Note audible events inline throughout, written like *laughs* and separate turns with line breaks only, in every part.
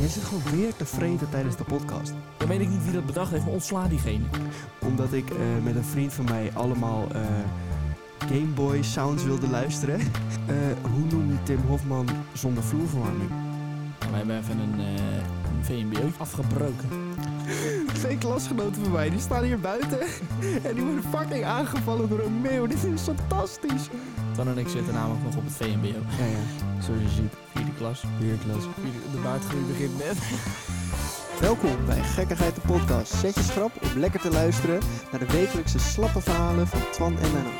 Je zit gewoon weer te vreten tijdens de podcast.
Dan weet ik niet wie dat bedacht heeft, maar ontsla diegene.
Omdat ik eh, met een vriend van mij allemaal eh, Game Boy sounds wilde luisteren. *laughs* Eh, hoe noem je Tim Hofman zonder vloerverwarming?
Nou, we hebben even een, eh een VMBO afgebroken.
Twee klasgenoten van mij, die staan hier buiten. *laughs* En die worden fucking aangevallen door een meeuw. Dit is fantastisch.
Dan en ik zitten namelijk nog op het VMBO.
Ja, ja. Zoals je ziet.
Vierde klas.
Weer klas.
De baardgroei begint net.
Welkom bij Gekkigheid de Podcast. Zet je schrap om lekker te luisteren naar de wekelijkse slappe verhalen van Twan en Menno.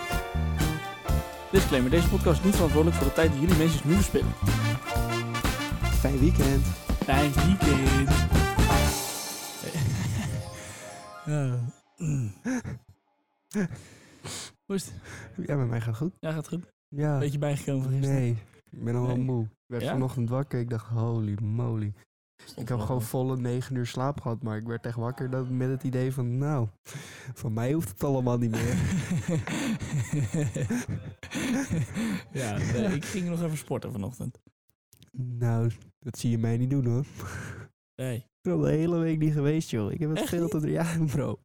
Disclaimer, deze podcast is niet verantwoordelijk voor de tijd die jullie mensen nu verspillen.
Fijn weekend.
Fijn
*laughs*
weekend. Hoe is het?
Ja, met mij gaat goed.
Ja, gaat goed.
Ja.
Beetje bijgekomen van gisteren.
Nee, ik ben al wel
Nee.
moe. Ik werd
Ja? Oh.
vanochtend wakker. Ik dacht, holy moly. Ik heb
wel
gewoon
goed.
volle negen uur slaap gehad. Maar ik werd echt wakker dat, met het idee van, nou, van mij hoeft het allemaal niet meer.
*laughs* *laughs* ja, nee, ik ging nog even sporten vanochtend.
nou, dat zie je mij niet doen hoor.
Nee.
Ik ben al de hele week niet geweest, joh. Ik heb het
Echt
veel te... Ja, bro.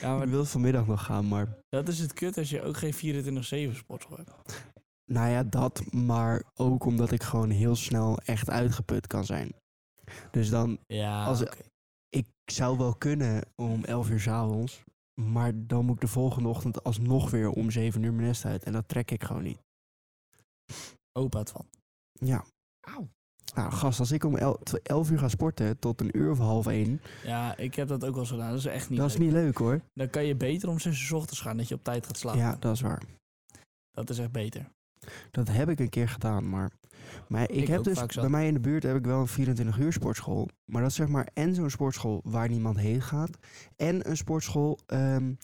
Ja, maar
Ik wil vanmiddag nog gaan, maar...
dat is het kut als je ook geen 24-7 sport hebt.
Nou ja, dat, maar ook omdat ik gewoon heel snel echt uitgeput kan zijn. Dus dan,
Ja,
Als-
oké.
ik zou wel kunnen om 11 uur 's avonds, maar dan moet ik de volgende ochtend alsnog weer om 7 uur mijn nest uit. En dat trek ik gewoon niet.
opa het van.
Ja.
Auw.
Nou, gast, als ik om 11 uur ga sporten tot een uur of half 1,
Ja, ik heb dat ook wel eens gedaan. Dat is echt niet
dat is
leuk.
niet leuk hoor.
Dan kan je beter om 6 uur 's ochtends gaan, dat je op tijd gaat slapen.
Ja, dat is waar.
Dat is echt beter.
Dat heb ik een keer gedaan, maar... Maar ik,
Ik
heb
ook
dus,
vaak zat.
bij mij in de buurt heb ik wel een 24 uur sportschool. Maar dat is zeg maar en zo'n sportschool waar niemand heen gaat. En een sportschool ehm,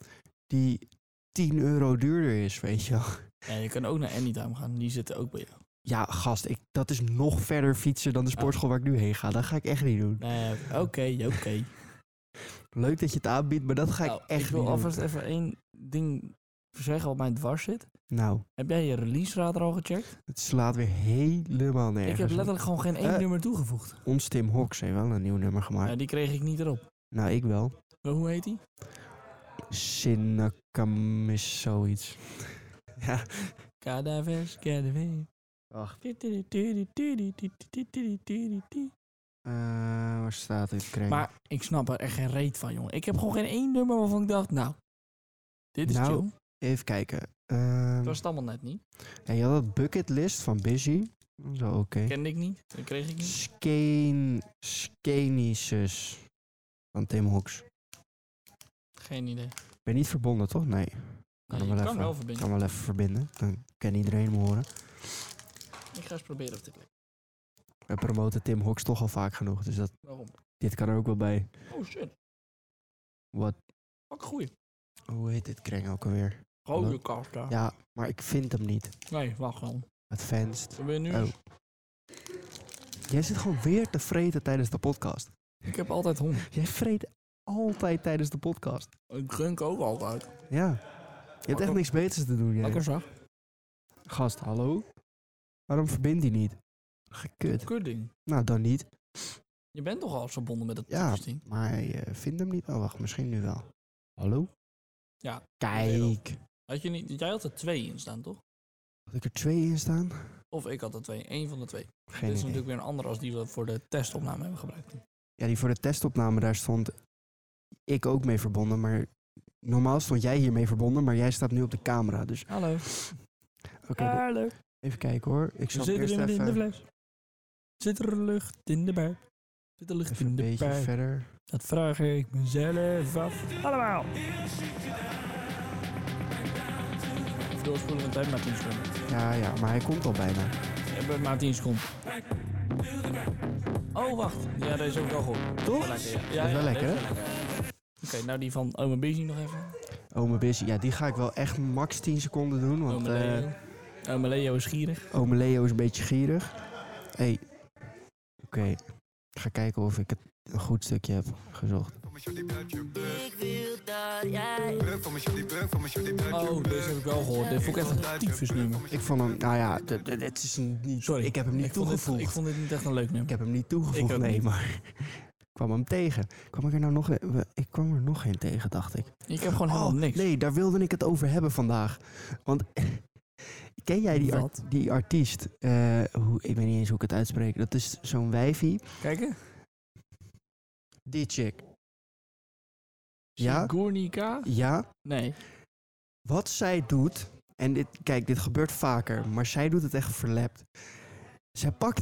die 10 euro duurder is, weet je wel. *laughs*
Ja, je kan ook naar Anytime gaan, die zitten ook bij jou.
Ja, gast, ik, dat is nog verder fietsen dan de sportschool waar ik nu heen ga. Dat ga ik echt niet doen.
Nee, oké, oké.
Leuk dat je het aanbiedt, maar dat ga ik
Nou,
echt
ik wil
niet
alvast
doen.
even één ding zeggen wat mij dwars zit.
Nou,
Heb jij je release radar al gecheckt?
het slaat weer helemaal nergens.
ik heb
op.
letterlijk gewoon geen één
Eh.
nummer toegevoegd.
Ons Tim Hawks heeft wel een nieuw nummer gemaakt.
Ja, die kreeg ik niet erop.
Nou, ik wel.
Maar hoe heet die?
Sinakam is zoiets. ja,
Cadavers, cadavers.
wacht. Eh, waar staat dit? Kreng?
Maar ik snap er echt geen reet van, jongen. Ik heb gewoon geen één nummer waarvan ik dacht, nou, dit is
Nou,
chill.
Even kijken. Ehm,
Dat was het allemaal net niet.
ja, je had dat bucketlist van Busy. Zo, oké.
Kende ik niet. Dat kreeg ik niet.
Skeen... Skenisus. Van Tim Hawks.
Geen idee.
Ben niet verbonden, toch? Nee. hem
Nee, ik
wel
kan
even.
wel
Ik
verbinden.
kan wel even verbinden. Dan kan iedereen me horen.
Ik ga eens proberen of dit lukt.
We promoten Tim Hawks toch al vaak genoeg. Dus dat,
Waarom?
dit kan er ook wel bij.
Oh shit.
Wat?
Wat een goeie.
Hoe heet dit kreng ook alweer?
Rode kast daar.
Ja, maar ik vind hem niet.
Nee, wacht wel.
Advanced.
Dan ben je nu.
Oh. Jij zit gewoon weer te vreten tijdens de podcast.
Ik heb altijd honger.
Jij vreet altijd tijdens de podcast.
Ik drink ook altijd.
Ja. Je hebt echt
Lekker.
niks beters te doen, jij.
Lekker zacht.
Gast, hallo? Waarom verbindt hij niet? Gekut.
Kudding.
Nou, dan niet.
Je bent toch al verbonden met dat
Ja.
typesding?
Maar hij eh, vindt hem niet. Oh, wacht. Misschien nu wel. Hallo?
Ja,
Kijk.
Had je niet, jij had er twee in staan, toch?
Had ik er twee in staan?
Of ik had er twee. Eén van de twee.
Geen
Dit is
idee.
natuurlijk weer een ander als die we voor de testopname hebben gebruikt.
Ja, die voor de testopname, daar stond ik ook mee verbonden. Maar normaal stond jij hiermee verbonden, maar jij staat nu op de camera. Dus
Hallo.
oké, de-
Hallo.
even kijken hoor. Ik zal
Zit
eerst
er in, in de
even,
fles? Zit er lucht in de buik? Zit er lucht
even
in
een
de
beetje
buik?
verder.
Dat vraag ik mezelf af. Allemaal. Even doorspoelen, want hij heeft maar 10 seconden.
Ja, ja, maar hij komt al bijna.
We hebben maar 10 seconden. Oh, wacht. Ja, deze is ook wel goed.
Toch?
Lekker, ja.
Dat is wel
deze
lekker,
is wel lekker. Oké, nou die van Oma Busy nog even.
Ome Busy, ja, die ga ik wel echt max 10 seconden doen. Want
Oma
eh
Leo. Oma Leo is gierig.
ome Leo is een beetje gierig. hey. oké. Ik ga kijken of ik het een goed stukje heb gezocht.
Voor mijn shorty blijf je
Ik wil dat jij.
beu. Voor mijn shorty beu. Voor mijn shorty blijf je
Oh, deze heb ik wel gehoord. Dit vond ik echt een tyfusnummer.
Ik vond hem, nou ja, d- d- het is een- niet,
Sorry.
ik heb hem niet
vond dit-
toegevoegd.
ik vond dit niet echt een leuk
Ik
nummer.
heb hem niet toegevoegd,
Ik ook
nee,
niet.
maar *laughs* ik kwam hem tegen. Kwam ik er nou nog een- Ik kwam er nog geen tegen, dacht ik.
Ik heb gewoon helemaal
Oh,
niks.
Nee, daar wilde ik het over hebben vandaag. Want *laughs* ken jij die, ar-
Wat?
die artiest? Eh, hoe, ik weet niet eens hoe ik het uitspreek. Dat is zo'n wijfie.
Kijken.
Die chick. Ja?
Gornica?
Ja,
Nee.
wat zij doet. En dit, kijk, dit gebeurt vaker, maar zij doet het echt verlept. Zij pakt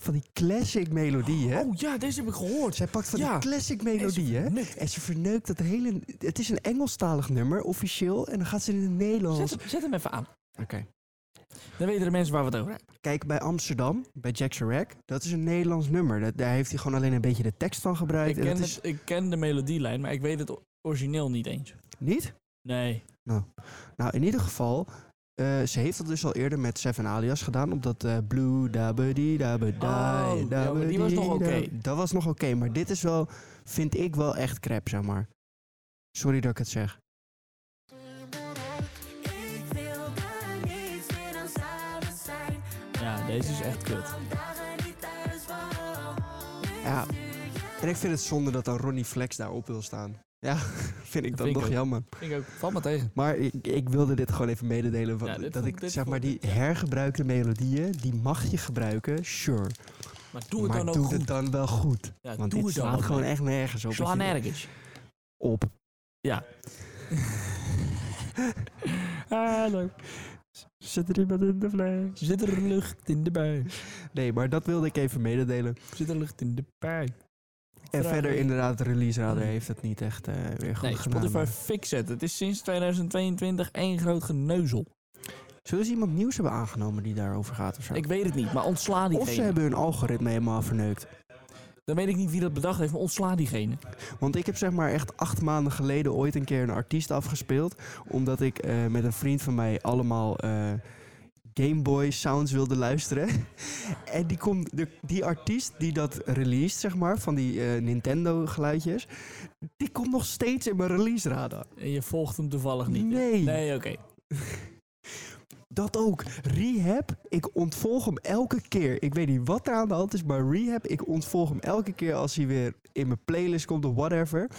van die classic melodie, hè?
Oh ja, deze heb ik gehoord.
Zij pakt van
Ja.
die classic melodie, hè?
Nukt.
En ze verneukt dat hele... Het is een Engelstalig nummer, officieel. En dan gaat ze in het
Zet
Nederlands.
hem, zet hem even aan.
Oké.
Dan weten de mensen waar we het over hebben.
Kijk, bij Amsterdam, bij Jack Rack, dat is een Nederlands nummer. Dat, daar heeft hij gewoon alleen een beetje de tekst van
Ik
gebruikt. en
ken,
dat is
het- ik ken de melodielijn, maar ik weet het o- origineel niet eens.
niet.
Nee.
Nou, in ieder geval, eh, ze heeft dat dus al eerder met Seven Alias gedaan. Op dat eh, blue, dabbe die, dabbe
Oh, ja,
die,
maar
dabbe
die was nog
dabbe-
oké.
Dat was nog oké, maar dit is wel, vind ik wel echt crap, zeg maar. Sorry dat ik het zeg.
Ik wil dat niets meer dan samen zijn.
Ja, deze is echt kut.
Kwam dagen niet thuis van.
Ja. En ik vind het zonde dat dan Ronnie Flex daarop wil staan. Ja, *laughs* vind ik
Dat
dan
vind ik
nog
ook.
jammer.
Ik ook. Valt me tegen.
Maar ik, ik wilde dit gewoon even mededelen. van-
Ja, dit
dat
vond-
ik
dit
zeg maar
vond
die
ik, ja.
hergebruikte melodieën, die mag je gebruiken, sure.
Maar doe het
maar
dan ook
doe
goed.
het dan wel goed.
Ja,
Want
doe
dit
het dan
slaat
ook
gewoon
goed.
echt nergens op.
Sla
dat je dit *laughs*
nergens.
Op.
Hallo.
Ah, Zit er iemand in de vlees?
Zit er lucht in de bui?
*laughs* Nee, maar dat wilde ik even mededelen.
Zit er lucht in de bui?
En
Vraag
verder
één.
inderdaad, Release Radar heeft het niet echt eh, weer goed
Nee,
gedaan.
Spotify fix het. Het is sinds 2022 één groot geneuzel.
Zullen ze iemand nieuws hebben aangenomen die daarover gaat of zo?
Ik weet het niet, maar ontsla
of ze
diegene.
hebben hun algoritme helemaal verneukt.
Dan weet ik niet wie dat bedacht heeft, maar ontsla diegene.
Want ik heb zeg maar echt acht maanden geleden ooit een keer een artiest afgespeeld. Omdat ik eh, met een vriend van mij allemaal eh, Game Boy sounds wilde luisteren. *laughs* en die, kon, de, die artiest die dat released, zeg maar, van die eh, Nintendo geluidjes. Die komt nog steeds in mijn release radar.
En je volgt hem toevallig niet.
Nee.
Nee, oké.
Dat ook. Rehab, ik ontvolg hem elke keer. Ik weet niet wat er aan de hand is, maar Rehab, ik ontvolg hem elke keer als hij weer in mijn playlist komt of whatever.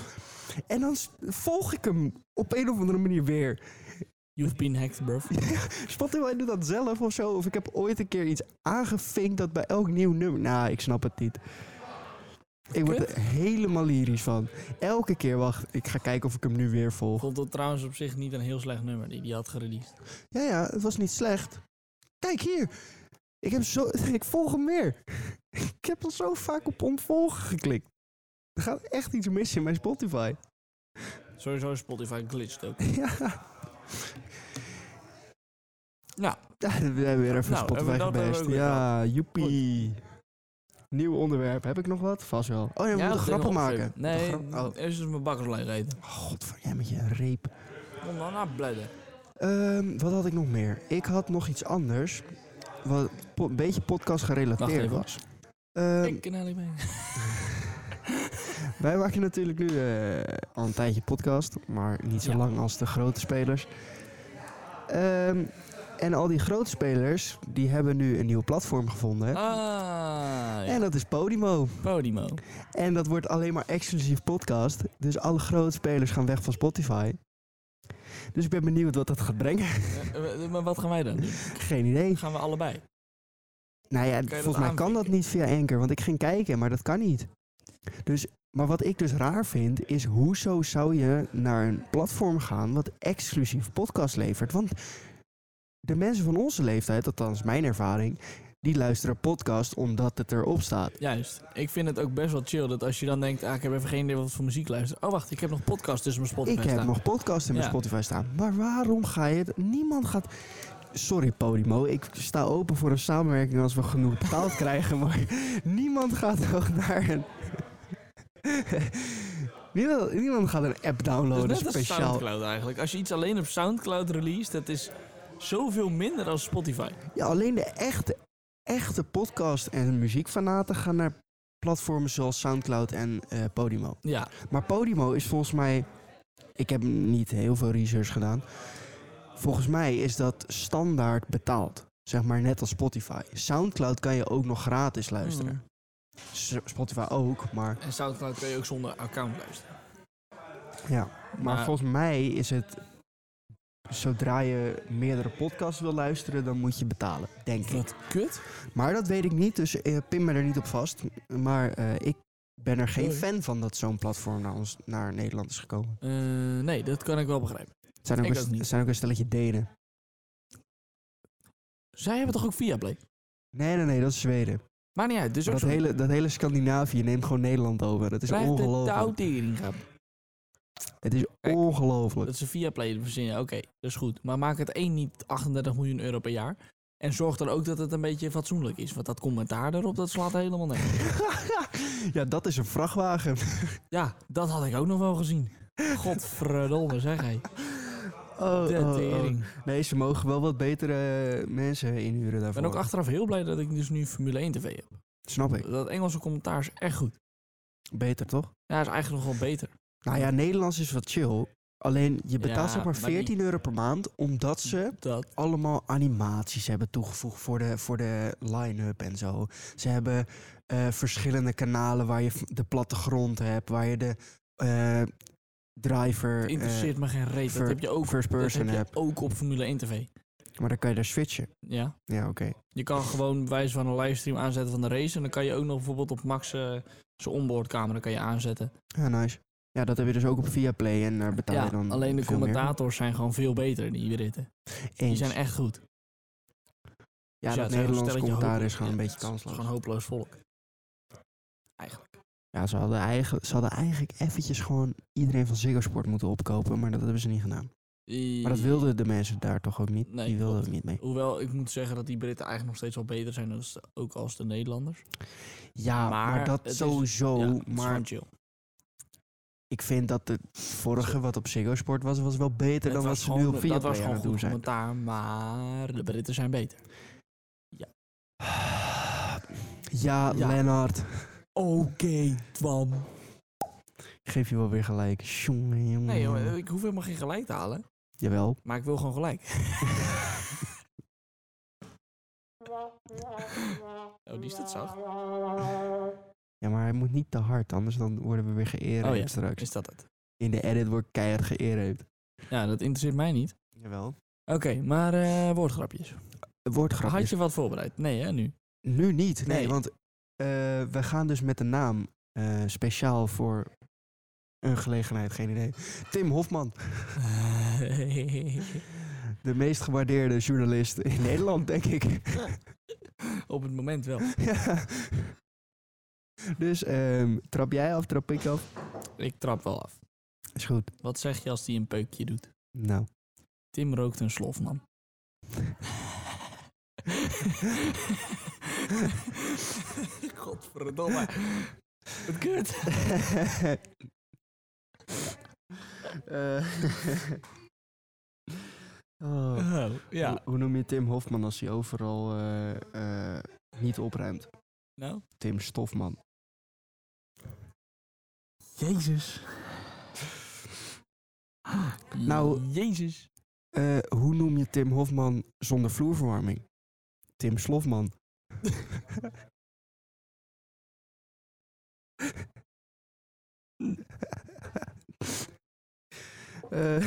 En dan s- volg ik hem op een of andere manier weer.
You've been hacked, bro.
Spotify doet dat zelf of zo. Of ik heb ooit een keer iets aangevinkt dat bij elk nieuw nummer... Nou, ik snap het niet. Ik word er helemaal lyrisch van. Elke keer, wacht, ik ga kijken of ik hem nu weer volg.
Vond dat trouwens op zich niet een heel slecht nummer die die had gereleased.
Ja, ja, het was niet slecht. Kijk hier. Ik, heb zo, *laughs* ik volg hem weer. *laughs* ik heb al zo vaak op ontvolgen geklikt. Er gaat echt iets mis in mijn Spotify. *laughs*
Sowieso is Spotify glitched ook.
ja.
Nou.
Ja, we hebben weer even
Nou,
Spotify
hebben we dat
gebest.
ook weer
Ja, joepie. Nieuw onderwerp. Heb ik nog wat? Vast wel. Oh, nee, we moeten
dat ding
grappen maken.
opgeschreven. Nee,
Grap- Oh,
eerst is mijn bakkerslijn eten.
god, van jij met je reep.
Kom dan naar bladden.
Ehm, wat had ik nog meer? Ik had nog iets anders. Wat po- een beetje podcast
Wacht
gerelateerd
even.
was. Ehm,
ik ken haar niet mee.
Wij maken natuurlijk nu eh, al een tijdje podcast, maar niet zo
Ja.
lang als de grote spelers. Ehm, en al die grote spelers, die hebben nu een nieuw platform gevonden.
Ah, Oh, ja.
En dat is Podimo.
Podimo.
En dat wordt alleen maar exclusief podcast. Dus alle grote spelers gaan weg van Spotify. Dus ik ben benieuwd wat dat gaat brengen. *laughs*
Eh, eh, maar wat gaan wij dan doen?
Geen idee.
Gaan we allebei?
Nou ja,
dat
volgens mij kan dat
aanvinken?
niet via Anchor, want ik ging kijken, maar dat kan niet. Dus, maar wat ik dus raar vind, is hoezo zou je naar een platform gaan wat exclusief podcast levert? Want de mensen van onze leeftijd, althans mijn ervaring, die luisteren podcast omdat het erop staat.
Juist. Ik vind het ook best wel chill dat als je dan denkt, ah, ik heb even geen idee wat voor muziek luisteren. Oh, wacht, ik heb nog podcast tussen mijn Spotify
Ik heb
staan. Dus
nog podcasts in mijn
Ja.
Spotify staan. Maar waarom ga je het? Niemand gaat. Sorry Podimo, ik sta open voor een samenwerking als we genoeg betaald *laughs* krijgen. Maar niemand gaat *laughs* toch naar een. niemand, niemand gaat een app
Dat is
downloaden
net als
speciaal.
Soundcloud eigenlijk. Als je iets alleen op Soundcloud release, dat is zoveel minder dan Spotify.
Ja, alleen de echte, echte podcast- en muziekfanaten gaan naar platformen zoals Soundcloud en eh, Podimo.
Ja,
Maar Podimo is volgens mij. Ik heb niet heel veel research gedaan. Volgens mij is dat standaard betaald. Zeg maar net als Spotify. Soundcloud kan je ook nog gratis luisteren.
Mm.
S- Spotify ook, maar.
en Soundcloud kun je ook zonder account luisteren.
Ja. Maar
Maar-
volgens mij is het. Zodra je meerdere podcasts wil luisteren, dan moet je betalen, denk ik.
Wat kut.
Maar dat weet ik niet, dus eh pin me er niet op vast. Maar eh, ik ben er geen
Sorry.
fan van dat zo'n platform naar, ons, naar Nederland is gekomen.
Eh, nee, dat kan ik wel begrijpen.
Het zijn ook,
Ik
een,
ook
st-
niet.
het zijn ook een stelletje denen.
Zij hebben toch ook Viaplay?
Nee, nee, nee, dat is Zweden.
Maakt niet uit. Dus ook
Dat
zo'n
hele, dat hele Scandinavië neemt gewoon Nederland over. Dat is
Blijft de
ongelooflijk.
touwtering gaan.
Het is
Kijk.
ongelooflijk.
Dat ze Viaplay verzinnen. Oké, dat is goed. Maar maak het één niet 38 miljoen euro per jaar. En zorg dan ook dat het een beetje fatsoenlijk is. Want dat commentaar erop, dat slaat helemaal nergens. op.
ja, dat is een vrachtwagen.
Ja, dat had ik ook nog wel gezien. Godverdomme, zeg hij.
*laughs* Oh,
De
oh, oh.
tering.
Nee, ze mogen wel wat betere eh, mensen inhuren
Ik
daarvoor.
ben ook achteraf heel blij dat ik dus nu Formule 1 tv heb.
Snap ik.
Dat Engelse commentaar is echt goed.
Beter, toch?
Ja, is eigenlijk nog wel beter.
Nou ja, Nederlands is wat chill. Alleen, je betaalt
Ja,
zeg maar
maar
14 euro per maand, omdat ze
Dat,
allemaal animaties hebben toegevoegd voor de, voor de line-up en zo. Ze hebben eh, verschillende kanalen waar je v- de plattegrond hebt, waar je de eh, driver, eh
interesseert me geen reet.
ver-
Dat heb je ook,
first
dat
person
heb je
hebt.
ook op Formule 1 tv.
Maar dan kan je daar switchen.
Ja.
Ja, oké.
Je kan gewoon bij wijze van een livestream aanzetten van de race. En dan kan je ook nog bijvoorbeeld op Max eh, zijn onboardcamera kan je aanzetten.
Ja, nice. Ja, dat heb je dus ook op Viaplay en daar betaal je
Ja,
dan
alleen de
veel meer.
commentators zijn gewoon veel beter, die ritten. Die
Eens.
zijn echt goed.
ja,
Dus
dat
het zijn
Nederlands
stelletje
commentaar
hopeloos-
is gewoon een
ja,
beetje
het is
kansloos.
Gewoon hopeloos volk. Eigenlijk.
Ja, ze hadden, eigen, ze hadden eigenlijk eventjes gewoon iedereen van Ziggo Sport moeten opkopen, maar dat hebben ze niet gedaan. Maar dat wilden de mensen daar toch ook niet?
Nee,
die wilden
klopt.
ook niet mee.
Hoewel, ik moet zeggen dat die Britten eigenlijk nog steeds wel beter zijn dan s- ook als de Nederlanders.
Ja, maar,
Maar het
dat
is-
sowieso.
ja, het is
Oh, maar
gewoon chill.
ik vind dat de vorige wat op Ziggo Sport was, was wel beter
Het
dan wat
was
ze
gewoon-
nu op
Dat was
Viaplay aan
gewoon
het
goed
doen zijn.
commentaar, maar de Britten zijn beter.
Ah, Ja,
Ja.
Lennart.
Oké, Twam.
Ik geef je wel weer gelijk. Sjonge, jonge,
Nee, eh,
jonge.
joh, ik hoef helemaal geen gelijk te halen.
Jawel.
Maar ik wil gewoon gelijk. oh, die staat zacht.
Ja, maar hij moet niet te hard, anders dan worden we weer geëerd
Oh ja.
straks.
Is dat het?
In de edit wordt keihard geëerd.
Ja, dat interesseert mij niet.
Jawel.
Oké, maar eh, woordgrapjes.
Woordgrapjes.
Had je wat voorbereid? Nee, hè, nu? *laughs*
Nu niet, nee,
Nee.
want eh, we gaan dus met de naam eh, speciaal voor een gelegenheid, geen idee. Tim Hofman, de meest gewaardeerde journalist in *laughs* Nederland, denk ik.
Op het moment wel.
Ja. Dus ehm, trap jij af, trap ik af?
Ik trap wel af.
Is goed.
Wat zeg je als die een peukje doet?
Nou.
Tim rookt een slof, man. *laughs*
Oh,
Godverdomme.
*laughs*
Wat kut.
Eh, *laughs* oh.
Oh,
Hoe,
ja.
hoe noem je Tim Hofman als hij overal eh, eh, niet opruimt?
Nou?
Tim Stofman.
Jezus. Ah,
Nou-
Jezus.
Eh, hoe noem je Tim Hofman zonder vloerverwarming? Tim Slofman. *laughs* Eh,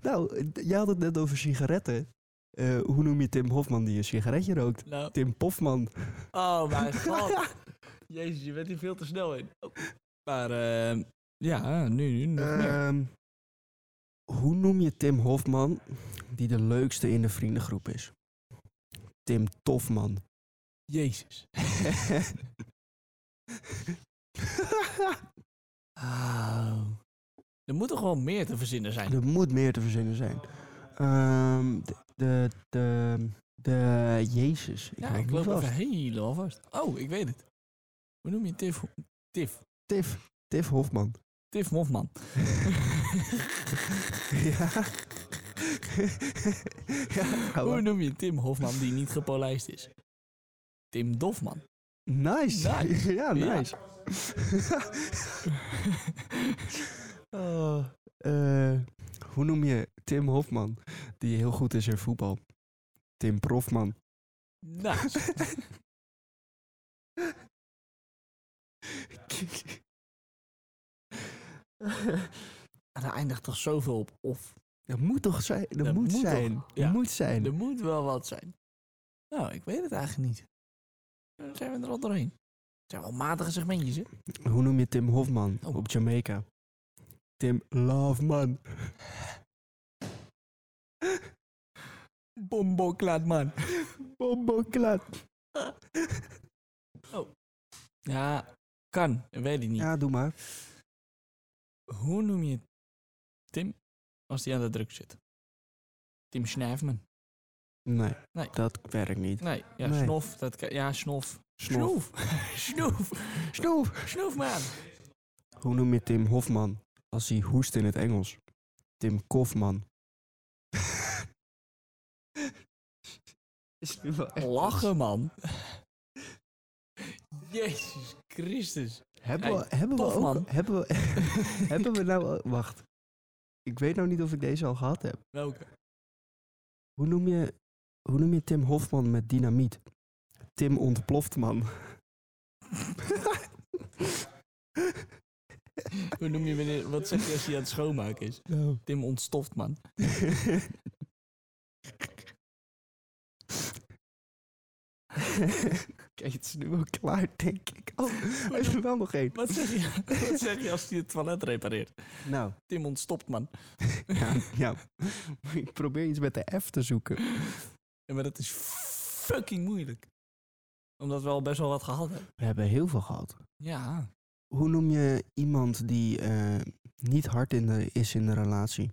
nou, d- jij had het net over sigaretten. Eh, hoe noem je Tim Hofman die een sigaretje rookt?
Nou.
Tim Pofman.
Oh *laughs* mijn god. Jezus, je bent hier veel te snel in. Oh. Maar eh, ja, nu, nu nog meer.
Ehm, hoe noem je Tim Hofman die de leukste in de vriendengroep is? Tim Tofman.
Jezus. Oh. Er moet toch wel meer te verzinnen
*laughs*
zijn?
Er moet meer te verzinnen zijn. Ehm, de, de, de, de- Jezus. Ik
Ja,
hou
ik
het
loop
niet
even
vast.
helemaal vast. Oh, ik weet het. Hoe noem je Tiff? Tiff.
Tiff. Tiff
*laughs*
Hofman.
Tiff Mofman.
ja. ja, hou
Hoe
op.
noem je Tim Hofman die niet gepolijst is? Tim Dofman.
Nice. *laughs*
Nice.
ja,
Ja. *laughs*
nice. Oh, eh, hoe noem je Tim Hofman, die heel goed is in voetbal? Tim Profman. *laughs*
Nice. En daar eindigt toch zoveel op of.
Dat moet toch zijn? Dat,
Dat
moet,
moet toch?
zijn. Dat
Ja.
moet zijn.
Er moet wel wat zijn. Nou, ik weet het eigenlijk niet. Dan zijn we er al doorheen. Het zijn wel matige segmentjes, hè?
Hoe noem je Tim Hofman
Oh.
op Jamaica? Tim Loveman.
Bomboklaat, man.
Bombo klaat.
Ja, kan. Weet ik niet.
Ja, doe maar.
Hoe noem je Tim als die aan de druk zit? Tim Snijfman.
Nee,
Nee.
dat werkt niet.
Nee, ja,
Nee.
snof. Dat, kan- ja, snof.
Snoef.
Snoef. *laughs*
Snoef.
Snoefman.
Hoe noem je Tim Hofman als hij hoest in het Engels? Tim Kofman. Is nu wel echt-
Lachen, man. *laughs* Jezus Christus.
Hebben
*laughs*
we,
Hey,
hebben we
tof, man.
ook... Hebben we, *laughs* hebben
*laughs*
we nou... ook- Wacht. Ik weet nou niet of ik deze al gehad heb.
Welke?
Hoe noem je, hoe noem je Tim Hofman met dynamiet? Tim Ontploftman.
Hoe noem je wanneer... Wat zeg je als hij aan het schoonmaken is?
*laughs* *laughs* Nou.
Tim ontstoft, man.
Oké, het is nu wel klaar, denk ik. *laughs* Oh, hij heeft er wel nog één.
Wat zeg je, *laughs* wat zeg je als hij het toilet repareert?
Nou,
Tim ontstopt, man.
ja, ja. ik probeer iets met de F te zoeken.
Ja, maar dat is fucking moeilijk. Omdat we al best wel wat gehad hebben.
We hebben heel veel gehad.
Ja.
Hoe noem je iemand die eh, niet hard in de, is in de relatie?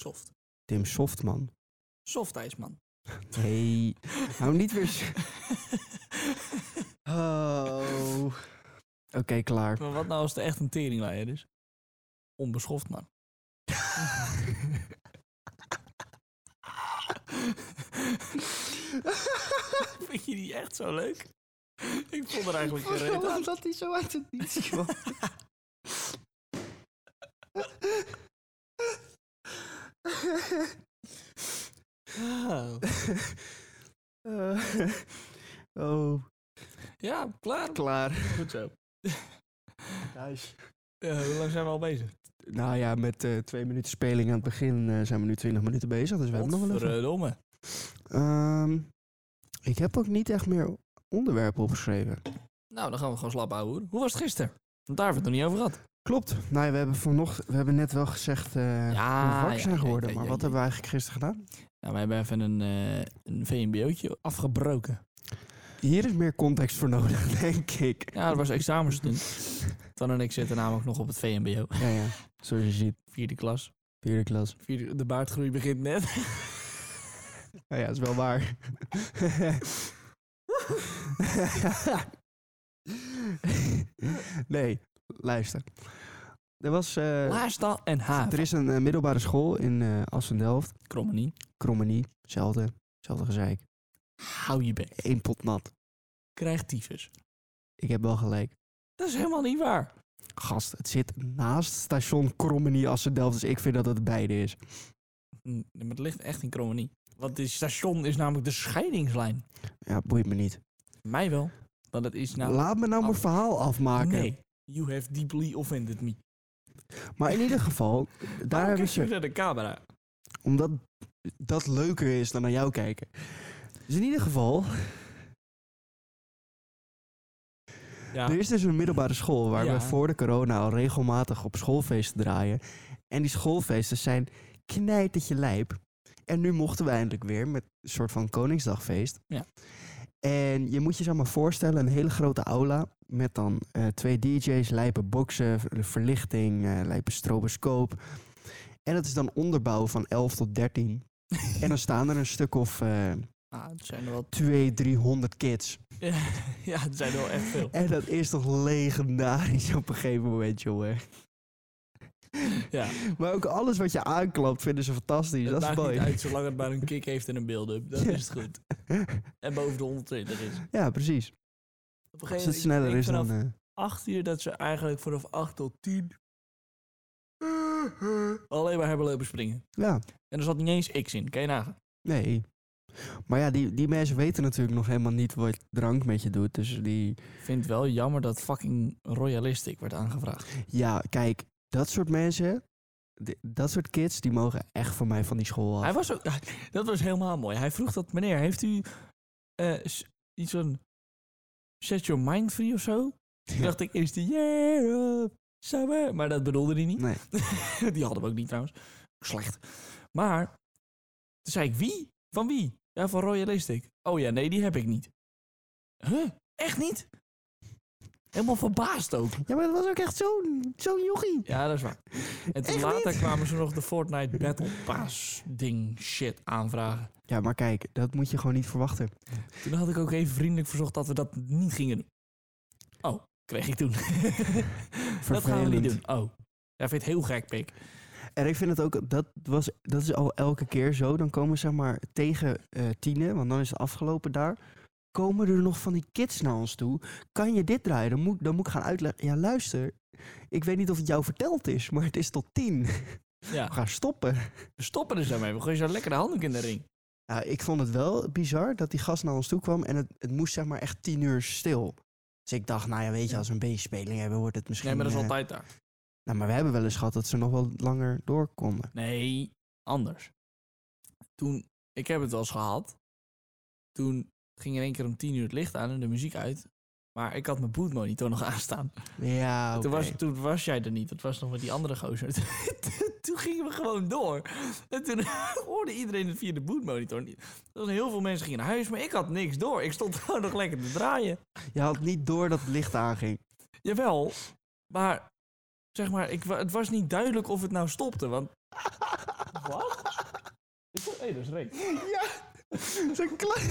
Soft.
Tim Softman.
Soft ijs, man. *laughs*
Nee, hou niet weer... s- Oh. Oké, klaar.
Maar wat nou als het echt een teringleier is? Onbeschoft, man. *laughs* Vind je die echt zo leuk? Ik vond er eigenlijk geen reden aan.
dat hij zo uit het niets kwam. Eh, oh,
Ja, klaar.
klaar.
Goed zo. Eh, hoe lang zijn we al bezig?
Nou ja, met eh, twee minuten speling aan het begin eh, zijn we nu 20 minuten bezig, dus we hebben nog wel even.
Godverdomme.
Ehm, ik heb ook niet echt meer onderwerpen opgeschreven.
Nou, dan gaan we gewoon slap houden. hoor. Hoe was het gisteren? Want daar hebben we het nog niet over gehad.
Klopt. Nou, ja, we hebben vanochtend, we hebben net wel gezegd eh
Ja,
hoe we wakker
ja,
zijn
ja,
geworden,
ja,
maar
ja,
wat
ja.
hebben we eigenlijk gisteren gedaan?
Nou, we hebben even een, eh een VMBO'tje afgebroken.
Hier is meer context voor nodig, *laughs* denk ik.
Ja, dat was examens
*laughs*
doen. Dan en ik zitten namelijk nog op het VMBO.
Ja, ja. Zoals je ziet,
Vierde klas.
vierde klas.
Vierde, de baardgroei begint net.
*laughs* Nou ja, is wel waar. *laughs* nee, luister. Er was... eh,
Laarstal en H.
Er is een eh, middelbare school in eh Assen-Delft.
Kromme niet.
Krommenie, hetzelfde. Hetzelfde gezeik.
Hou je bek.
Eén pot nat.
Krijg tyfus.
Ik heb wel gelijk.
Dat is helemaal niet waar.
Gast, het zit naast station Krommenie Assen-Delft. Dus ik vind dat het beide is.
Hm, Maar het ligt echt in Kromme niet. Want dit station is namelijk de scheidingslijn.
Ja, boeit me niet.
Mij wel. Want het is nou...
Laat me nou mijn
af-
verhaal afmaken.
Nee. You have deeply offended me.
Maar in ieder geval, daar
Waarom
hebben
kijk je
ze...
naar de camera.
Omdat dat leuker is dan naar jou kijken. Dus in ieder geval,
Ja.
er is dus een middelbare school waar
Ja.
we voor de corona al regelmatig op schoolfeesten draaien. En die schoolfeesten zijn knijtertje lijp. En nu mochten we eindelijk weer met een soort van Koningsdagfeest.
Ja.
En je moet je zo maar voorstellen, een hele grote aula met dan eh, twee DJ's, lijpe boksen, ver- verlichting, eh lijpe stroboscoop. En dat is dan onderbouw van 11 tot 13.
*laughs*
en dan staan er een stuk of eh
Ah, het zijn er
*laughs*
wel...
200, 300 kids.
ja, het zijn er wel echt veel.
En dat is toch legendarisch op een gegeven moment, jongen.
*laughs* Ja.
Maar ook alles wat je aanklapt vinden ze fantastisch.
Het
dat is
maakt niet
mooi.
uit, zolang het maar een kick heeft en een build-up. Dan is het goed. En boven de 120 is.
Ja, precies.
Op een gegeven
Als het
ik
sneller
denk
is dan...
vanaf
eh,
8 uur dat ze eigenlijk vanaf 8 tot 10 alleen maar hebben lopen springen.
ja,
En er zat niet eens X in, kan je nagaan.
nee. Maar ja, die, die mensen weten natuurlijk nog helemaal niet wat drank met je doet. Dus die...
Ik vind het wel jammer dat fucking Royalistic werd aangevraagd.
Ja, kijk, dat soort mensen... d- Dat soort kids, die mogen echt van mij van die school af.
Hij was ook, dat was helemaal mooi. Hij vroeg dat, meneer, heeft u eh, s- iets van Set Your Mind Free of zo? Toen dacht ik, is the year of summer? Maar dat bedoelde hij niet. *laughs*
Nee.
Die hadden we ook niet trouwens. Slecht. Maar toen zei ik, wie? Van wie? Ja, van Royalistic. Oh ja, nee, die heb ik niet. Huh? Echt niet? Helemaal verbaasd ook.
Ja, maar dat was ook echt zo'n zo'n jochie.
Ja, dat is waar. En toen
Echt
later
niet?
kwamen ze nog de Fortnite Battle Pass ding shit aanvragen.
Ja, maar kijk, dat moet je gewoon niet verwachten.
Toen had ik ook even vriendelijk verzocht dat we dat niet gingen doen. Oh, kreeg ik toen. *laughs* dat gaan we niet
Vervelend.
doen. Oh. Ja, vind je het heel gek, pik.
En ik vind het ook, dat, was, dat is al elke keer zo. Dan komen zeg maar tegen eh tienen, want dan is het afgelopen daar. Komen er nog van die kids naar ons toe? Kan je dit draaien? Dan moet, dan moet ik gaan uitleggen. Ja, luister. Ik weet niet of het jou verteld is, maar het is tot tien.
Ja,
We gaan stoppen.
we stoppen er zo mee. We gooien zo lekker de handdoek in de ring.
Ja, ik vond het wel bizar dat die gast naar ons toe kwam en het, het moest zeg maar echt tien uur stil. Dus ik dacht, nou ja, weet je, als we een B-speling hebben, wordt het misschien...
Nee, maar dat is
eh,
altijd daar.
Nou, maar we hebben wel eens gehad dat ze nog wel langer door konden.
Nee, anders. Toen, ik heb het wel eens gehad. Toen ging in één keer om tien uur het licht aan en de muziek uit. Maar ik had mijn bootmonitor nog *laughs* aanstaan.
Ja,
Toen, was,
oké.
toen was jij er niet. Dat was nog met die andere gozer. *laughs* toen gingen we gewoon door. En toen *laughs* hoorde iedereen het via de bootmonitor. Er waren Heel veel mensen gingen naar huis, maar ik had niks door. Ik stond *laughs* gewoon nog lekker te draaien.
Je had niet door dat het licht aanging.
Jawel, maar zeg maar, ik, wa- het was niet duidelijk of het nou stopte,
*laughs*
want... Wat? Hé, hey, dat is Rick.
Zo'n klein...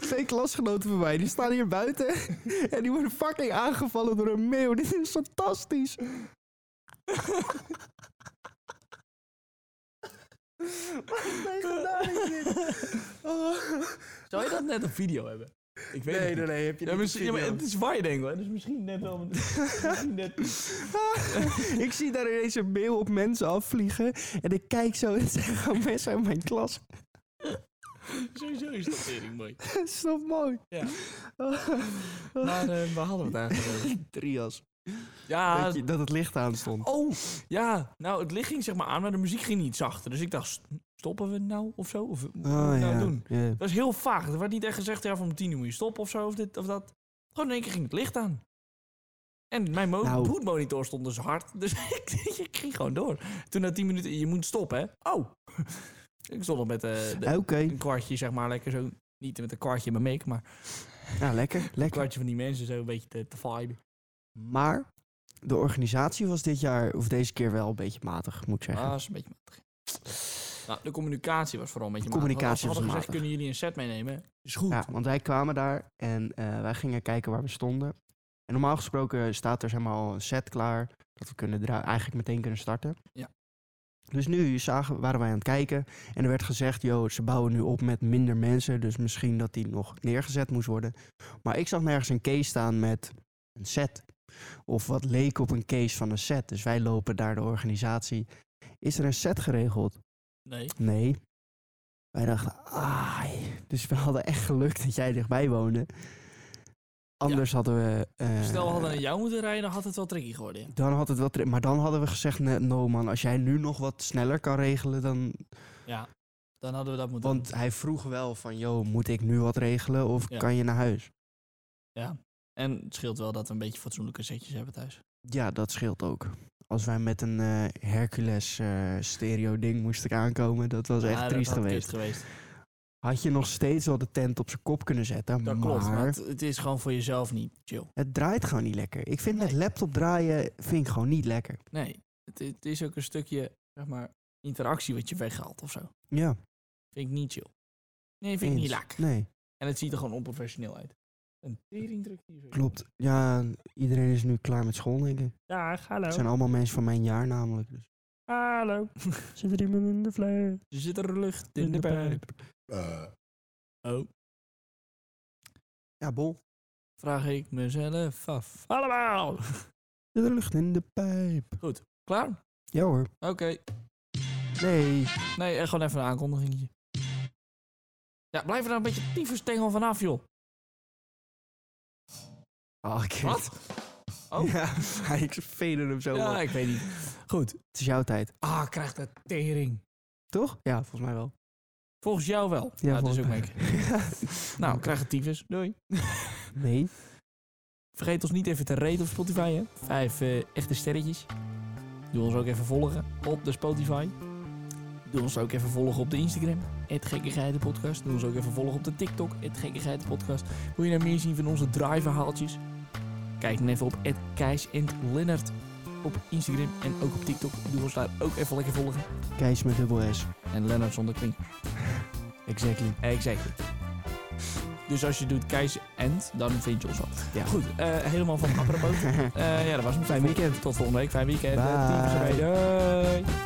Twee klasgenoten van mij, die staan hier buiten en die worden fucking aangevallen door een meeuw. Dit is fantastisch. Wat heb je gedaan met dit? Oh.
Zou je dat net op video hebben? Ik weet
Nee, nee,
het niet.
nee, heb je
Ja,
niet
misschien, ja,
op
maar
video.
het is Wijding, hoor. Dus misschien net
*laughs*
wel... misschien net...
ik zie daar ineens een mail op mensen afvliegen. En ik kijk zo en *laughs* ze gaan mensen uit mijn klas. *laughs*
Sowieso is dat tering mooi.
Dat is toch mooi?
Ja. Maar eh, waar hadden we het eigenlijk over?
*laughs* Trias. *laughs*
Ja,
dat, je, dat het licht aan stond.
Oh, ja. Nou, het licht ging zeg maar aan, maar de muziek ging niet zachter. Dus ik dacht, st- stoppen we nou of zo? Of wat moeten we nou doen?
Ah, Ja.
Dat is heel vaag. Er werd niet echt gezegd, ja, van om tien uur moet je stoppen of zo, of dit of dat. Gewoon in één keer ging het licht aan. En mijn mo-
Nou.
bootmonitor stond dus hard, *laughs* dus ik, ik ging gewoon door. Toen na tien minuten, je moet stoppen, hè? Oh! *laughs* ik stond nog met eh, de-
Ah, Oké,
een kwartje, zeg maar, lekker zo. Niet met een kwartje in mijn make, maar
nou lekker,
een
lekker.
kwartje van die mensen zo een beetje te, te viben.
Maar de organisatie was dit jaar, of deze keer wel, een beetje matig, moet ik
Ah,
zeggen.
dat is een beetje matig. Nou, de communicatie was vooral een beetje
De communicatie
matig. Want als
was
ze hadden gezegd,
matig.
kunnen jullie een set meenemen? Is goed.
Ja, want wij kwamen daar en eh, wij gingen kijken waar we stonden. En normaal gesproken staat er zeg maar, al een set klaar, dat we kunnen dra- eigenlijk meteen kunnen starten.
Ja.
Dus nu zagen, waren wij aan het kijken en er werd gezegd, joh, ze bouwen nu op met minder mensen, dus misschien dat die nog neergezet moest worden. Maar ik zag nergens een case staan met een set. Of wat leek op een case van een set. Dus wij lopen daar de organisatie. Is er een set geregeld?
Nee.
Nee. Wij dachten, ah, dus we hadden echt geluk dat jij dichtbij woonde. Anders hadden we... eh,
Stel, we hadden naar jou moeten rijden, dan had het wel tricky geworden. ja.
Dan had het wel... tri- Maar dan hadden we gezegd, nee, no man, als jij nu nog wat sneller kan regelen dan...
Ja. Dan hadden we dat moeten
Want hij vroeg wel van, yo, moet ik nu wat regelen of
Ja.
kan je naar huis?
doen. Ja. En het scheelt wel dat we een beetje fatsoenlijke setjes hebben thuis.
Ja, dat scheelt ook. Als wij met een eh, Hercules eh, stereo ding moesten aankomen, dat was echt
Ja, dat
triest
had kut
geweest.
geweest.
Had je nog steeds wel de tent op zijn kop kunnen zetten,
Dat
maar...
klopt, maar het, het is gewoon voor jezelf niet chill.
Het draait gewoon niet lekker. Ik vind met laptop draaien vind ik gewoon niet lekker.
Nee. Het, het is ook een stukje, zeg maar, interactie wat je weghaalt of zo.
Ja.
Vind ik niet chill. Nee, vind ik niet
eens.
lekker.
Nee,
En het ziet er gewoon onprofessioneel uit. Een teringdruk hier. zo.
klopt. Ja, iedereen is nu klaar met school, denk
Oh.
ik.
Dag, hallo.
Het zijn allemaal mensen van mijn jaar namelijk. Dus.
Hallo.
Zit er iemand in de vlees?
Er zit er lucht in, de pijp. Oh.
Ja, bol.
Vraag ik mezelf af. Allemaal!
De lucht in de pijp.
Klaar? Oké.
Ja hoor. Nee.
Nee, eh, gewoon even een aankondigingetje. Ja, blijf er nou een beetje tyfusstengel vanaf, joh.
Oh, ik- *laughs*
Oh.
Ja, *laughs* ik veder hem zo op.
Ja, ik weet niet. Goed.
Het is jouw tijd,
Ah, krijgt de tering.
toch? Ja, volgens mij wel.
Volgens jou wel.
Ja,
dat is ook
volgens mij.
meek. Nou, krijg het tyfus. Doei.
*laughs* Nee.
Vergeet ons niet even te raten op Spotify, hè. Vijf eh, echte sterretjes. Doe ons ook even volgen op de Spotify. Doe ons ook even volgen op de Instagram. Het Gekkighedenpodcast. Doe ons ook even volgen op de TikTok. Het Gekkighedenpodcast. Wil je nou meer zien van onze draaiverhaaltjes? Kijk dan even op het Keis en Lennart op Instagram en ook op TikTok. Doe ons daar ook even lekker volgen.
Keis met dubbel S.
En Lennart zonder klink.
Exactly.
Exactly. Dus als je doet Keis en, dan vind je ons wel.
Ja.
Goed, eh,
*laughs*
helemaal van apropos. Eh, ja, dat was hem.
Fijn weekend.
Tot volgende week. Fijn weekend.
Bye.
Doei.